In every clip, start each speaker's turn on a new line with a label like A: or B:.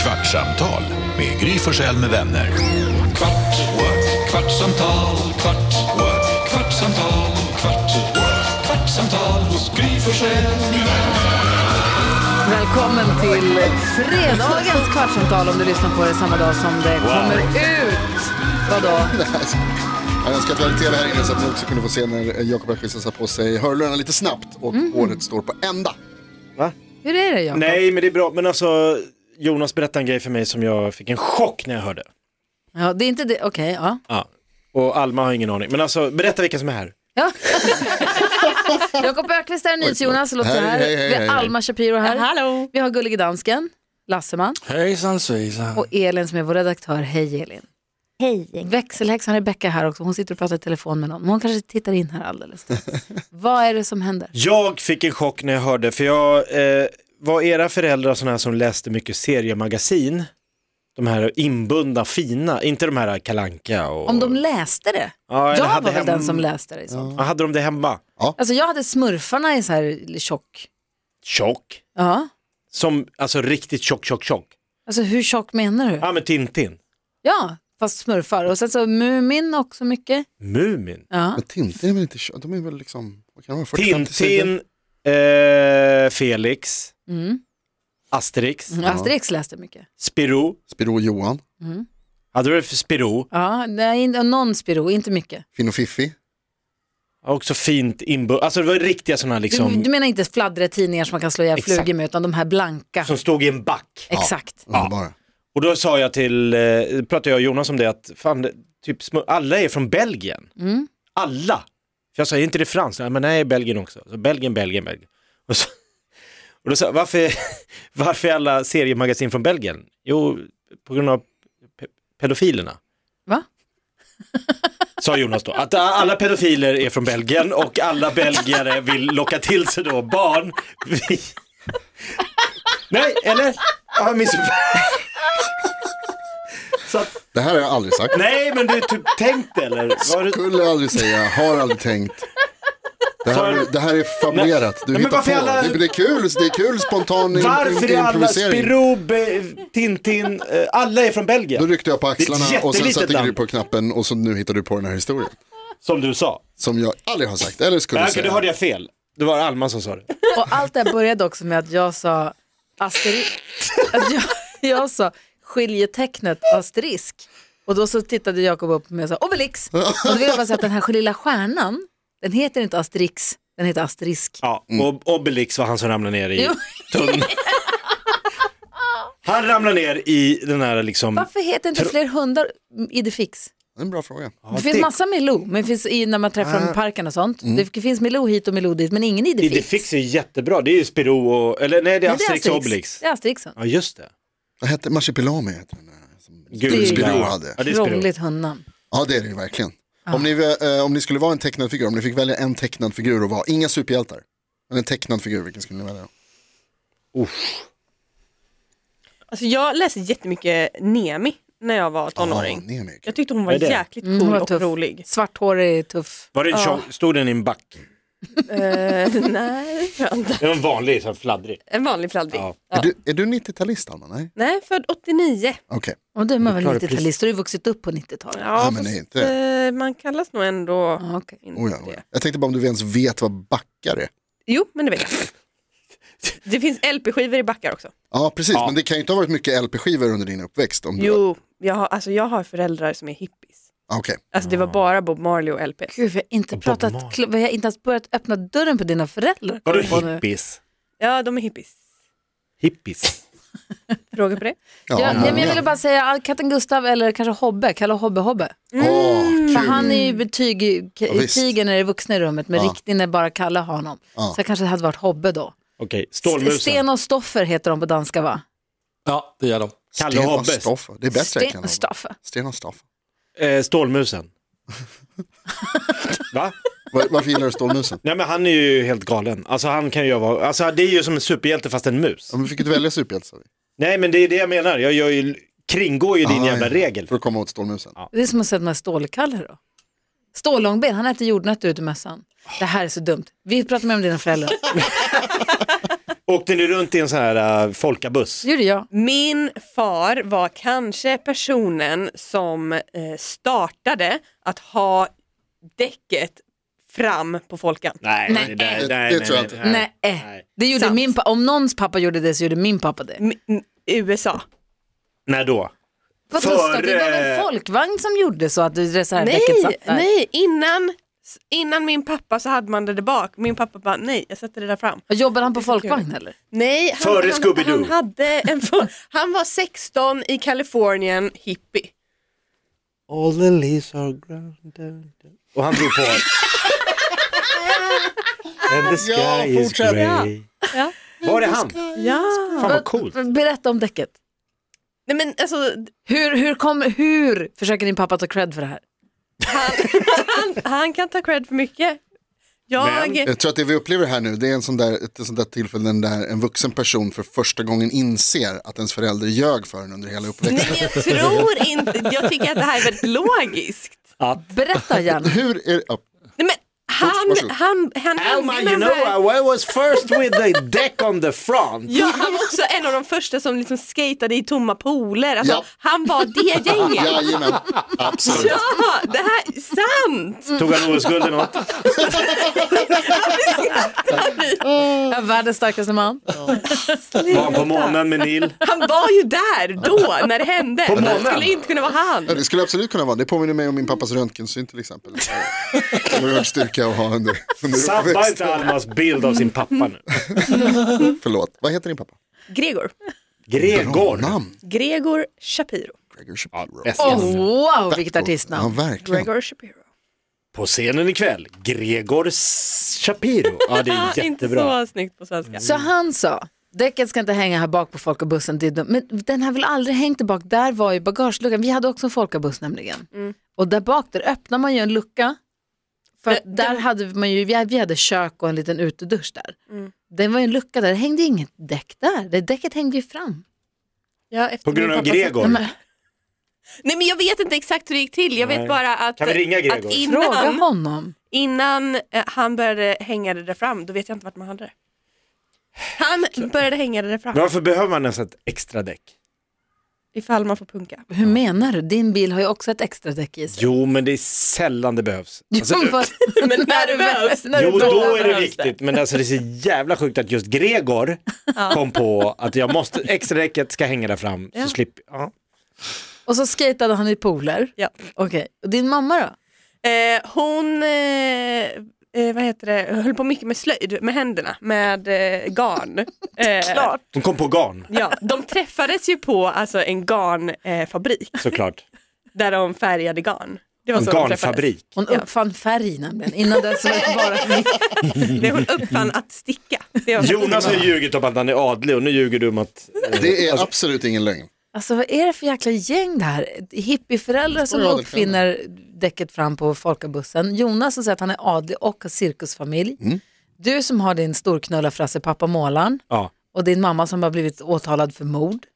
A: kvartsamtal med Gry Forssell med vänner. Kvart, what? kvartsamtal, kvart, what? kvartsamtal, kvart, what? kvartsamtal hos Gry Forssell med vänner.
B: Välkommen till fredagens kvartsamtal om du lyssnar på det samma dag som det kommer ut. Vadå?
C: Alltså, Jag önskar att vi hade tv här inne så att ni också kunde få se när Jakob Öqvist satte på sig hörlurarna lite snabbt och året står på ända.
D: Va?
B: Hur är det Jakob?
D: Nej, men det är bra. Men alltså, Jonas berättade en grej för mig som jag fick en chock när jag hörde.
B: Ja, det är inte det. Okej, ja.
D: Ja. Och Alma har ingen aning. Men alltså, berätta vilka som är här.
B: ja. Jakob Öqvist här, NyhetsJonas, låter så här.
C: Hej, hej, hej,
B: Vi
C: hej.
B: har Alma Shapiro här. Hallå. Vi har Gullige Dansken, Lasseman
E: Hejsan svejsan.
B: och Elin som är vår redaktör. Hej Elin. Hej. Växelhäxan Rebecka här också. Hon sitter och pratar i telefon med någon. Men hon kanske tittar in här alldeles strax. Vad är det som händer?
D: Jag fick en chock när jag hörde, för jag eh, var era föräldrar sådana här som läste mycket seriemagasin. De här inbundna fina, inte de här Kalanka och...
B: Om de läste det?
D: Ja, eller
B: jag var
D: hade
B: väl
D: hem-
B: den som läste det i så fall.
D: Ja, hade de det hemma?
B: Alltså jag hade smurfarna i så här tjock.
D: Tjock.
B: Ja.
D: Som, alltså riktigt tjock, tjock, tjock.
B: Alltså hur tjock menar du?
D: Ja, men Tintin.
B: Ja, fast smurfar. Och sen så Mumin också mycket.
D: Mumin.
B: Ja.
C: Men Tintin är väl inte kö- De är väl liksom, vad kan det vara, 40-50 sidor?
D: Tintin, eh, Felix,
B: Mm.
D: Asterix,
B: Asterix läste mycket.
D: Spirou.
C: Spiro och Johan,
D: Hade du det för Spirou?
B: Ja, nej, in- någon Spiro, inte mycket.
C: Finn och Fiffi.
D: Också fint inbund. Alltså det var riktiga sådana
B: Du,
D: liksom,
B: du menar inte fladdretidningar som man kan slå ihjäl
D: Exakt.
B: flugor med, utan de här blanka.
D: som stod i en back.
B: Exakt.
C: Underbara.
D: Och då sa jag till, eh, pratade jag och Jonas om det, att fan, det- typ, smu- alla är från Belgien.
B: Mm.
D: Alla! För jag sa, är inte det franskt? Nej, men nej, Belgien också. Så Belgien, Belgien, Belgien. Och, så, och då sa jag, varför, varför är alla seriemagasin från Belgien? Jo, på grund av pe- pedofilerna.
B: Va?
D: Sa Jonas då, att alla pedofiler är från Belgien och alla belgare vill locka till sig då barn. Vi... Nej, eller? Jag har missuppfattat. Så att,
C: Det här har jag aldrig sagt.
D: nej, men du typ tänkt eller? Var det...
C: Skulle aldrig säga, har aldrig tänkt. Det här,
D: Sorry.
C: är- det här är fabulerat, du
D: Nej,
C: hittar
D: men
C: på.
D: varför alla-
C: Det, det, är kul, det är kul spontan
D: Varför är alla
C: improvisering.
D: Spiro, Be- Tintin, eh, alla är
C: Då
D: från Belgien?
C: ryckte jag på axlarna
D: Det är ett
C: och sen
D: jättelitet
C: satte Gry
D: land.
C: på knappen och så nu hittar du på den här historien.
D: Som du sa.
C: Som jag aldrig har sagt, eller skulle
D: Nej, okej,
C: säga.
D: då hörde jag fel. Det var Alma som sa det.
B: Och allt det här började också med att jag sa Asterix. Att jag, jag sa skiljetecknet asterisk. Och då så tittade Jakob upp på mig och sa obelix. Och då vill jag bara säga att den här lilla stjärnan, den heter inte asterix, den heter asterisk.
D: Ja, och Obelix var han som ramlade ner i
B: Jo.
D: tunnan. Han ramlade ner i den här liksom...
B: Varför heter inte fler hundar Idefix?
C: Det är en bra fråga.
D: Ja,
B: Det finns
D: det- Ah. Mm.
B: massa Milou, men det finns i, när man träffar dem i parken och sånt. Det finns Milou hit och Milou dit, men ingen Idefix.
D: Idefix är jättebra, det är ju Spiro och, eller nej det är
B: Men det är
D: Asterix och Obelix.
B: Det är Asterixen.
D: Ja just det.
C: Vad hette Marsipelami? heter den där som-
D: Gula.
C: Spiro hade.
D: Ja, det är Spiro.
B: Krångligt hundnamn.
C: Ja, det är det ju verkligen. Om, ni, eh, om ni skulle vara en tecknad figur, om ni fick välja en tecknad figur att vara, inga superhjältar, men en tecknad figur, vilken skulle ni välja?
F: Alltså jag läste jättemycket Nemi när jag var
C: Ah,
F: tonåring.
C: Nemi.
F: Jag tyckte hon var
D: Vad är det?
F: jäkligt
B: Mm, hon
F: cool
B: var
F: och
B: tuff.
F: rolig.
B: Svarthårig, tuff.
D: Var det en
F: Ja.
D: tjock, stod den i en back?
F: Eh, nej, jag vet inte.
D: Det var en vanlig, så här fladdrig.
F: en vanlig fladdrig.
D: Ja.
C: Är du, är du 90-talist, Alma? Nej?
F: Nej, född 89.
C: Okej.
B: Och då är man väl
D: klarar precis.
B: 90-talist, då har du vuxit upp på 90-talet.
F: Ja,
C: men
F: fast,
C: nej, inte.
F: eh, man kallas nog ändå
B: Ja, okej.
F: inte
C: Oh, ja, oh, ja.
F: det.
C: Jag tänkte bara om du ens vet vad backar är.
F: Jo, men det vet jag. Det finns LP-skivor i backar också.
C: Ja, precis.
D: Ja.
C: Men det kan ju inte ha varit mycket LP-skivor under din uppväxt. Om du...
F: Jo, jag har, alltså, jag har föräldrar som är hippies.
C: Ah, Okej.
F: Alltså det var bara Bob Marley och LP.
B: Gud, vi har inte,
D: Och Bob
B: pratat,
D: Marley.
B: kl- vi har inte ens börjat öppna dörren på dina föräldrar.
D: Var det
B: Kom på nu.
D: hippies?
F: Ja, de är hippies.
D: Hippies?
F: Fråga på det?
C: Ja,
B: Ja, nej, men jag
C: många.
B: ville bara säga ah, katten Gustav eller kanske Hobbe, kalla Hobbe Hobbe.
C: Åh,
B: För
C: kul.
B: han är ju betyg, k-
C: visst.
B: tigern är det vuxna i rummet men
C: Ja.
B: riktigt när bara kalla har honom.
C: Ja.
B: Så jag kanske det hade varit Hobbe då.
D: Okej,
B: S-
D: Stålmusen.
B: Sten och Stoffer heter de på danska va?
E: Ja, det gör de.
D: Kalle
C: Sten
D: och
C: och
D: Hobbe.
C: Stoffer. Det är bättre än
B: Sten
C: Kalle
B: och
C: Hobbe.
B: Stoffer.
C: Sten och Staff.
D: Eh, Stålmusen. Va?
C: Var- Varför gillar du Stålmusen?
D: Nej men han är ju helt galen. Alltså han kan ju vara, alltså det är ju som en superhjälte fast en mus.
C: Ja, men fick du välja superhjälte? sa vi.
D: Nej men det är det jag menar, jag gör ju, kringgår ju din
C: Ah,
D: jävla
C: ja.
D: regel.
C: För att komma åt Stålmusen.
B: Det är som att säga att man är stålkalle då. Stållångben, han äter jordnötter ute i mössan. Det här är så dumt. Vi pratar mer om dina föräldrar.
D: Åkte ni runt i en sån här uh, folkabuss?
B: Det gjorde jag.
F: Min far var kanske personen som eh, startade att ha däcket fram på Folkan.
D: Nej,
B: Nej.
D: det, där-
C: Det-
D: nej,
C: det
D: nej,
C: tror jag
D: nej,
C: inte.
B: Nej. Det gjorde
F: Sant.
B: min pa- Om någons pappa gjorde det så gjorde min pappa det.
F: M- m- USA.
D: När då?
B: Vadå,
D: Före-
B: Stav? Det var väl folkvagn som gjorde så att reservdäcket
F: Nej,
B: satt där?
F: nej, innan, innan min pappa så hade man det där bak. Min pappa bara nej, jag sätter det där fram.
B: Jobbade han på folkvagn eller?
F: Nej, han,
D: Före
F: han,
D: Scooby-Doo.
F: han, hade en, fo- han var 16 i Kalifornien, hippie.
D: All the leaves are ground down. Och han drog på. And the sky
C: Ja,
D: is
C: fortsätt.
D: grey.
F: Ja.
D: Var är han?
F: Ja.
D: Fan vad coolt.
B: Berätta om däcket.
F: Nej men alltså,
B: Hur, hur, kom, hur försöker din pappa ta cred för det här?
F: han, han kan ta cred för mycket. Jag,
D: Men-
C: Jag tror att det vi upplever här nu det är en sån där, ett sånt där tillfälle där en vuxen person för första gången inser att ens förälder ljög för en under hela
F: nej,
C: uppväxten.
F: men jag tror inte, jag tycker att det här är väldigt logiskt.
B: Berätta gärna.
C: Hur är det? ja,
F: Nej, men han,
C: Varsågod.
F: han, han,
D: Alma,
F: hängde
D: you
F: med
D: know
F: de här-
D: I was first with the deck on the front.
F: Ja, han var också en av de första som liksom skatade i tomma pooler. Alltså,
C: Ja.
F: Han var det gänget.
C: Jajamän, absolut.
F: Ja, det här är sant!
D: Tog han OS-guld eller något?
B: Jag är världens starkaste man.
D: Var han på månen med Neil?
F: Han var ju där då när det hände.
D: På
F: Det
D: morgonen.
F: skulle inte kunna vara han.
C: Ja, det skulle absolut kunna vara. Det påminner mig om min pappas röntgensyn till exempel. Oerhörd styrka att ha under, under
D: Sabba
C: uppväxten.
D: inte Almas bild av sin pappa nu.
C: Förlåt, vad heter din pappa?
F: Gregor.
D: Gregor.
C: Namn?
F: Gregor Shapiro.
C: Gregor Shapiro.
D: bäst.
B: Oh, wow, vilket
C: Ja,
B: artistnamn.
C: verkligen.
F: Gregor Shapiro.
D: På scenen ikväll, Gregor Shapiro. Ja, det
F: Ah,
D: är
F: inte
D: jättebra.
F: så snyggt på svenska.
B: Så han sa, däcket ska inte hänga här bak på folkabussen. Det är dumt. Men den här vill aldrig hängt där bak. Där var ju bagageluckan. Vi hade också en folkabuss nämligen.
F: Mm.
B: Och där bak där öppnar man ju en lucka. För att
F: Det-
B: där hade man ju, vi hade- vi hade kök och en liten utedusch där.
F: Mm.
B: Det var ju en lucka där, det hängde ju inget däck där. Det däcket hängde ju fram.
F: Ja, efter
D: På grund
F: min
D: av
F: pappa-
D: Gregor.
B: Nej, men,
F: Nej men jag vet inte exakt hur det gick till. Jag
D: Nej.
F: vet bara att, eh,
D: Kan vi ringa Gregor?
F: att
B: fråga
F: innan,
B: honom.
F: innan eh, han började hänga det där fram, då vet jag inte vart man hade det. Han började hänga det där fram,
D: Varför behöver man ens ett extra däck?
F: ifall man får punka.
B: Hur menar du? Din bil har ju också ett extra däck i sig. Liksom
D: Jo, men det är sällan det behövs. Alltså,
B: Jo, fast-
F: Men när det behövs.
B: när du
D: jo, då
B: behöver.
D: är det viktigt. Men alltså, det är så jävla sjukt att just Gregor kom på att jag måste, extra däcket ska hänga där fram. Så slipp, ja.
B: Och så skatade han i pooler.
F: Ja.
B: Okej, och din mamma då?
F: Eh, hon eh, eh, vad heter det? höll på mycket med slöjd med händerna, med eh, garn. Eh, Klart.
D: Hon kom på garn,
F: Ja, de träffades ju på alltså, en garnfabrik eh, fabrik,
D: såklart.
F: där de färgade garn. Det var
D: En
F: så de träffades.
D: garnfabrik.
B: Hon uppfann färg nämligen. Innan dess var det bara
F: Det hon uppfann att sticka. Det var
D: Jonas har ljugit om att han är adlig och nu ljuger du om att... eh,
C: Det är absolut ingen lögn.
B: Alltså vad är det för jäkla gäng det här? Hippieföräldrar som
C: Stora
B: uppfinner däcket fram på folkabussen. Jonas som säger att han är adlig och har cirkusfamilj.
D: Mm.
B: Du som har din storknullarfrasse pappa målaren
D: Ja,
B: och din mamma som har blivit åtalad för mord.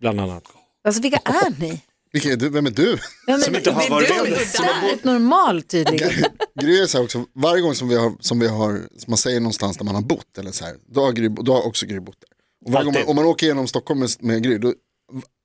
D: bland annat.
B: Alltså vilka är ni?
C: Vilken är du? Vem är du?
B: Ja,
D: Som inte har
B: men
D: varit
B: du är
D: med om det.
B: ju väldigt normal tydligen.
C: Gry är så här också, varje gång som vi har, som vi har, som man säger någonstans där man har bott, eller så här, då har, Gry, då har också Gry bott där. Och varje gång man,
D: Alltid.
C: om man åker genom Stockholm med, med Gry, då,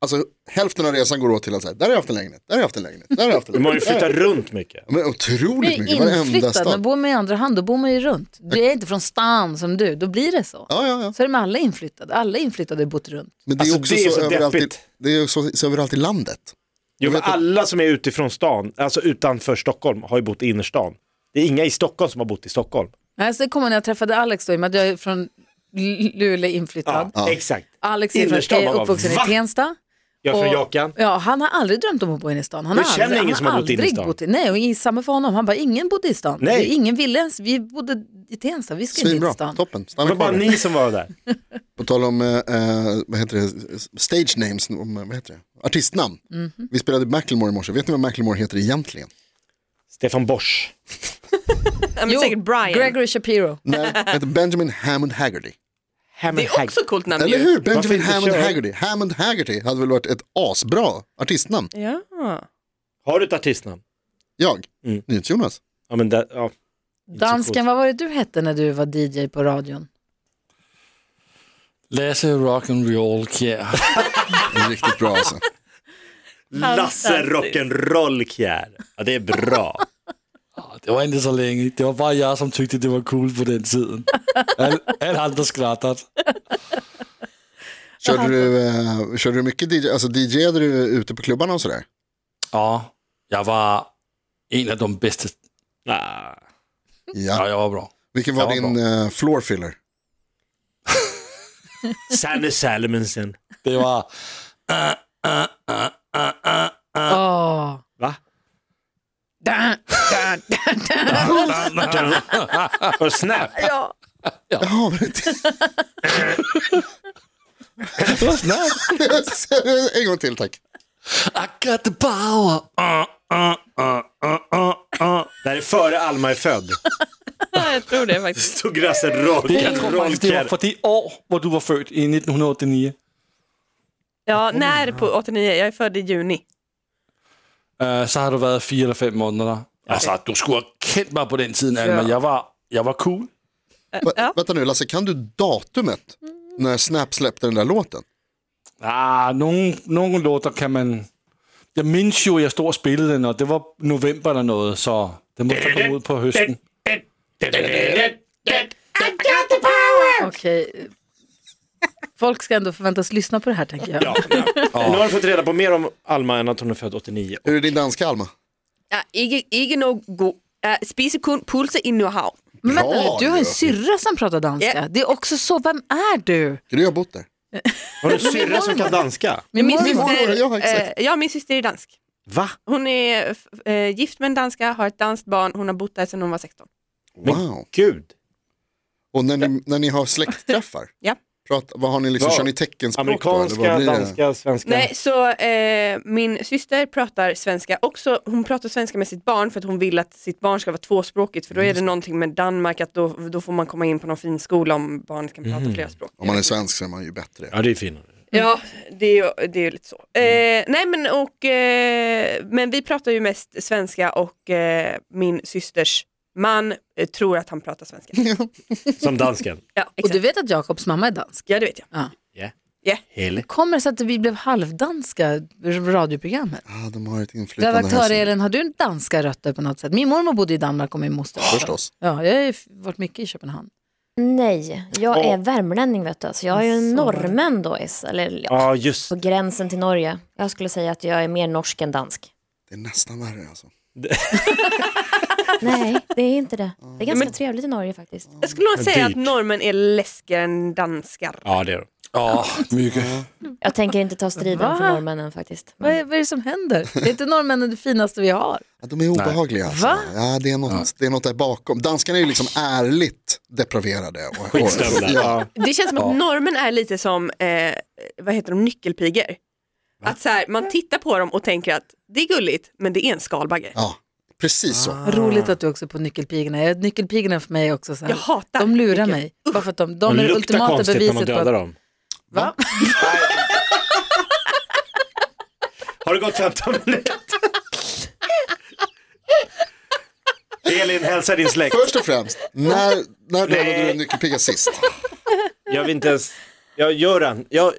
C: alltså hälften av resan går åt till att säga, där har jag haft en lägenhet, där har jag haft en lägenhet, där har jag haft en
D: De har ju
C: lägenhet.
D: flyttat runt mycket.
C: Ja, Men
B: Du
C: otroligt
B: är
C: mycket, varenda
B: inflyttad, men
C: stad.
B: bor man i andra hand då bor man ju runt. Du är inte från stan som du, då blir det så.
C: Ja, ja, ja.
B: Så är det med alla inflyttade, alla inflyttade har bott runt.
C: Men det är
D: Alltså,
C: också
D: det är
C: så,
D: så
C: överallt i,
D: deppigt.
C: det är så, så överallt i landet.
D: Jo, för
C: vet att-
D: alla som är utifrån stan, alltså utanför Stockholm, har ju bott i innerstan. Det är inga i Stockholm som har bott i Stockholm.
B: Nej, så det kommer när jag träffade Alex då, i och med att jag är från L- Luleå inflyttad.
D: Exakt.
B: Alex är,
D: Innerstan,
B: från,
D: man
B: är
D: bara,
B: uppvuxen
D: va?
B: i Tensta.
D: Jag är från
B: Och-
D: Jakan.
B: Ja, han har aldrig drömt om att bo inne i stan. Han
D: Jag
B: har
D: känner
B: aldrig,
D: ingen
B: han
D: som
B: har
D: har bott inne i
B: aldrig
D: stan.
B: bott i- Nej, och i- samma för honom. Han bara, ingen bodde i stan.
D: Nej.
B: Vi, ingen ville ens, vi bodde i Tensta, vi skulle inte in
C: Svinbra,
B: i stan.
C: toppen,
D: Det
C: stanna
D: var
C: kvar
D: bara
C: där.
D: ni som var där.
C: På tal om, eh, eh, vad heter det, stage names, om, eh, vad heter det? artistnamn.
B: Mhm.
C: Vi spelade Macklemore i morse, vet ni vad Macklemore heter egentligen?
D: Stefan Borsch.
F: Ja, men säkert Brian.
B: Gregory Shapiro.
C: Nej, han heter Benjamin Hammond Haggerty.
F: Det är också coolt namn
C: Eller
F: ju.
C: hur?
D: Varför
C: Benjamin
D: inte
C: Hammond
D: köra?
C: Haggerty. Hammond Haggerty hade väl varit ett asbra artistnamn.
F: Ja.
D: Har du ett artistnamn?
C: Jag,
D: Mm.
C: NyhetsJonas.
D: Ja, men där, ja. Inte så
B: Dansken, vad var det du hette när du var DJ på radion?
E: Lasse Rock'n'Roll Kjær.
C: Det är Riktigt bra alltså.
D: Lasse Rock'n'Roll Kjär. Ja, det är bra.
E: Ja, Det var inte så länge. Det var bara jag som tyckte det var cool på den tiden. All, alla andra skrattade.
C: Körde du, eh, körde du mycket DJ? Alltså DJade du ute på klubbarna och sådär?
E: Ja, jag var en av de bästa.
D: Ah.
E: Ja,
C: Ja.
E: jag var bra.
C: Vilken var
E: jag var
C: din eh, floor filler?
D: Sanne Salomonsen.
E: Det var...
B: Åh.
D: Va?
B: Dun, dun, dun, dun.
D: Och Snap.
B: Ja.
C: Ja, men det- en gång till tack.
E: I got the power. ah,
D: Det här är före Alma är född.
F: Ja, jag tror det faktiskt.
D: Stod Lasse
E: Det, jag tror
D: Rock'n'Roll
E: faktiskt det var
D: Kjär.
E: för det år hvor du var född, i 1989.
F: Ja, när på 89? Jag är född i juni.
E: Øh, så har du været fire eller fem måneder. Altså, du skulle have kendt mig på den tiden, Alma. Jeg var, jeg var cool.
C: Va-
F: Ja.
C: Vänta nu, Lasse, kan du datumet när Snap släppte den där låten?
E: Ah, nogle, nogle låter kan man... Jeg mindes jo, at jeg stod og spillede den, og det var november eller noget, så det måtte have kommet ud på høsten.
B: Okej. Folk ska ändå förväntas lyssna på det här tänker jag.
D: Ja, ja. Nu har du fått reda på mer om Alma än att hon är född 89.
C: Hur är din danska Alma?
F: Ja, ikke, ikke noget god. Uh, spise kun pulse i Nyhavn.
B: Men vänta nu,
C: Bra,
B: du har en
C: du.
B: syrra som pratar danska.
F: Ja.
B: Det är också så, vem är du?
C: Gry har bott där.
D: Har du en syrra som kan danska?
B: Min
F: Min
B: mormor.
F: syster,
C: ja,
F: eh,
C: exakt.
F: ja, min syster är dansk.
D: Va?
F: Hon är f- eh, gift med en danska, har ett danskt barn, hon har bott där sedan hon var 16.
C: Wow.
D: Gud.
C: Och när ni, när ni har släktträffar?
F: Ja.
C: Prata, vad har ni liksom,
D: Ja.
C: kör ni teckenspråk då?
D: Amerikanska,
C: eller vad blir det?
D: danska, svenska.
F: Nej, så eh, min syster pratar svenska också. Hon pratar svenska med sitt barn för att hon vill att sitt barn ska vara tvåspråkigt
C: Mm,
F: för då är det någonting med Danmark att då, då får man komma in på någon fin skola om barnet kan prata flera språk.
C: Mm. Om man är svensk så är man ju bättre.
D: Ja, det är finare.
F: Ja, det är ju, det är ju lite så.
C: Mm.
F: Eh, nej men och, eh, men vi pratar ju mest svenska och eh, min systers man eh, tror att han pratar svenska.
D: Som dansken.
F: Ja,
B: Och du
F: exakt.
B: vet att Jakobs mamma är dansk?
F: Ja, det vet jag.
D: Ja.
F: Ja.
D: Hele.
B: Kommer det sig att vi blev halvdanska i radioprogrammet?
C: Ah, de har ett inflytande här. som-
B: Redaktör-Elin, har du danska rötter på något sätt? Min mormor bodde i Danmark och min moster.
C: Förstås.
B: Ja, jag har ju varit mycket i Köpenhamn.
G: Nej, jag är
D: Åh.
G: värmlänning vet du. Så jag är ju
B: Så var det.
G: norrmän då, is- eller ja,
D: Ja, just
G: på gränsen till Norge. Jag skulle säga att jag är mer norsk än dansk.
C: Det är nästan värre alltså.
G: Nej, det är inte det. Det är ganska trevligt i Norge faktiskt.
F: Jag skulle nog säga
D: dyrt.
F: att normen är läskigare än danskar.
D: Ja, det är det.
E: Åh, Mygge.
G: Jag tänker inte ta striden för norrmännen faktiskt.
B: Vad
G: Men
B: är, vad är det som händer? Är inte norrmännen det finaste vi har?
C: Ja, de är obehagliga alltså.
B: Va?
C: Ja, det är, något, det är något där bakom. Danskarna är ju liksom ärligt depraverade. och-
D: Skitstövlar.
C: Ja.
D: Ja.
F: Det känns som att normen är lite som, eh, vad heter de, nyckelpigor. Att så här, man tittar på dem och tänker att det är gulligt, men det är en skalbagge.
C: ja, precis så.
D: Ah.
B: Roligt att du också är på Nyckelpigorna. Jag- Nyckelpigorna är för mig också så här.
F: Jag hatar
B: De lurar
F: nyckel.
B: mig. Bara för att de, de
D: De
B: är det
D: luktar
B: ultimata
D: konstigt när man
B: beviset på
D: dödar
B: att...
D: dem.
B: Va?
D: Har det gått 15 minuter? Elin, hälsa din släkt.
C: Först och främst, när, när dödade du
D: Nej.
C: en nyckelpiga sist?
D: Jag vill inte ens... Jag gör den. Jag,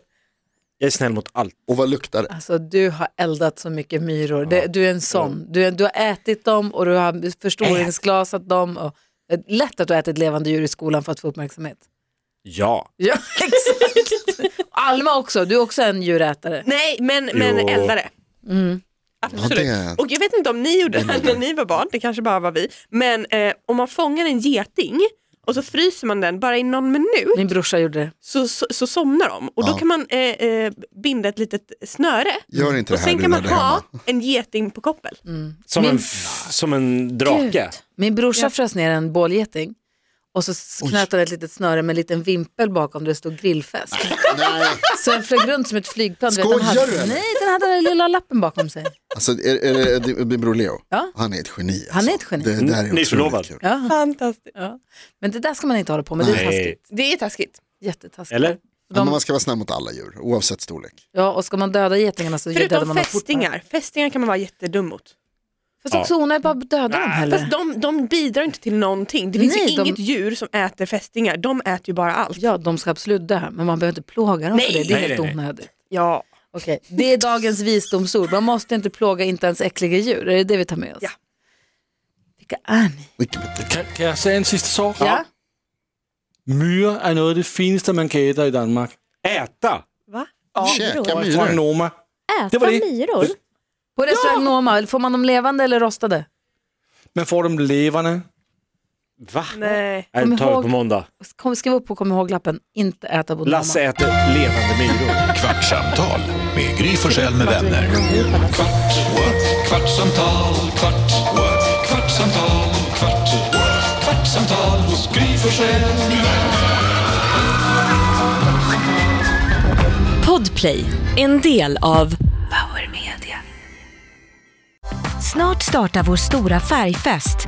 D: jag är snäll mot allt.
C: Och vad luktar det?
B: Alltså du har eldat så mycket myror. Det, du är en sån. Du, är- du har ätit dem och du har förstoringsglasat dem. Och, eh, lätt att du har ätit levande djur i skolan för att få uppmärksamhet.
D: Ja.
B: Ja, exakt. Alma också, du är också en djurätare.
F: Nej, men, men
D: Jo.
F: eldare.
C: Ja,
B: Mm.
F: Absolut.
C: det
F: Och jag vet inte om ni gjorde det när ni var barn, det kanske bara var vi. Men eh, om man fångar en geting och så fryser man den bara i någon minut
B: Min brorsa gjorde det.
F: så, så, så somnar de. Och då
C: Ja.
F: kan man eh, eh, binda ett litet snöre
C: gör inte det
F: och
C: här
F: sen
C: nu
F: kan
C: när
F: man
C: det är hemma.
F: ha en geting på koppel.
B: Mm.
D: Som,
B: Min-
D: en, f- som en drake.
B: Min brorsa frös ner en bålgeting och så s- knöt han ett litet snöre med en liten vimpel bakom där det stod grillfest.
C: Nej,
B: Så den flög runt som ett flygplan. vet, den
C: Skojar
B: hade,
C: du, eller?
B: Nej, den hade den där lilla lappen bakom sig.
C: alltså är, är, det- är det din bror Leo?
B: Ja.
C: Han är ett geni. Alltså.
B: Han är ett geni.
C: Det, det här är
D: Nyförlovad.
C: otroligt kul.
B: Ja,
F: Fantastiskt.
B: ja. Men det där ska man inte hålla på med, det är
D: Nej.
B: taskigt.
F: Det är taskigt.
B: Jättetaskigt.
D: Eller?
C: Ja, men
B: De,
C: man ska vara snäll mot alla djur, oavsett storlek.
B: ja, och ska man döda getingarna så dödar man
F: Förutom
B: dem fortare.
F: fästingar. Fästingar kan man vara jättedum mot.
B: Fast också onödigt bara döda dem
F: Fast
B: heller.
F: de, de bidrar inte till någonting. Det finns
B: Nej,
F: ju
B: de-
F: inget djur som äter fästingar. De äter ju bara allt.
B: Ja, de ska absolut dö, men man behöver inte plåga dem för det. Det är
D: Nej,
B: helt
D: nej, nej.
B: onödigt.
F: Ja.
B: Okej, det är dagens visdomsord. Man måste inte plåga inte ens äckliga djur. Är det det vi tar med oss?
F: Ja.
B: Vilka är ni?
C: Vilken-
E: Kan, kan jeg sige en sidste sorg?
B: Ja.
E: Myrer er noget af det fineste, man kan æde i Danmark.
D: Äta!
F: Va?
C: Käka
G: Myror?
E: Fra
C: myror.
E: Noma. Det
G: Äta
E: var det.
G: myror?
B: På restaurang Noma, får man dem levande eller rostade?
E: Man får dem leverne.
D: Va?
F: Nej.
D: Nej,
B: Kom
D: det tar vi
B: ihåg-
D: på måndag.
B: Kom, skriv upp och kom ihåg lappen, inte äta på
D: Lasse
B: Noma.
D: äter levande myror.
A: Kvartsamtal med Gry Forssell med vänner. Kvart, what? kvartsamtal, kvart, what? kvartsamtal, kvart, what? kvartsamtal hos Gry Forssell med vänner.
H: Podplay, en del av Power Media. Snart startar vår stora färgfest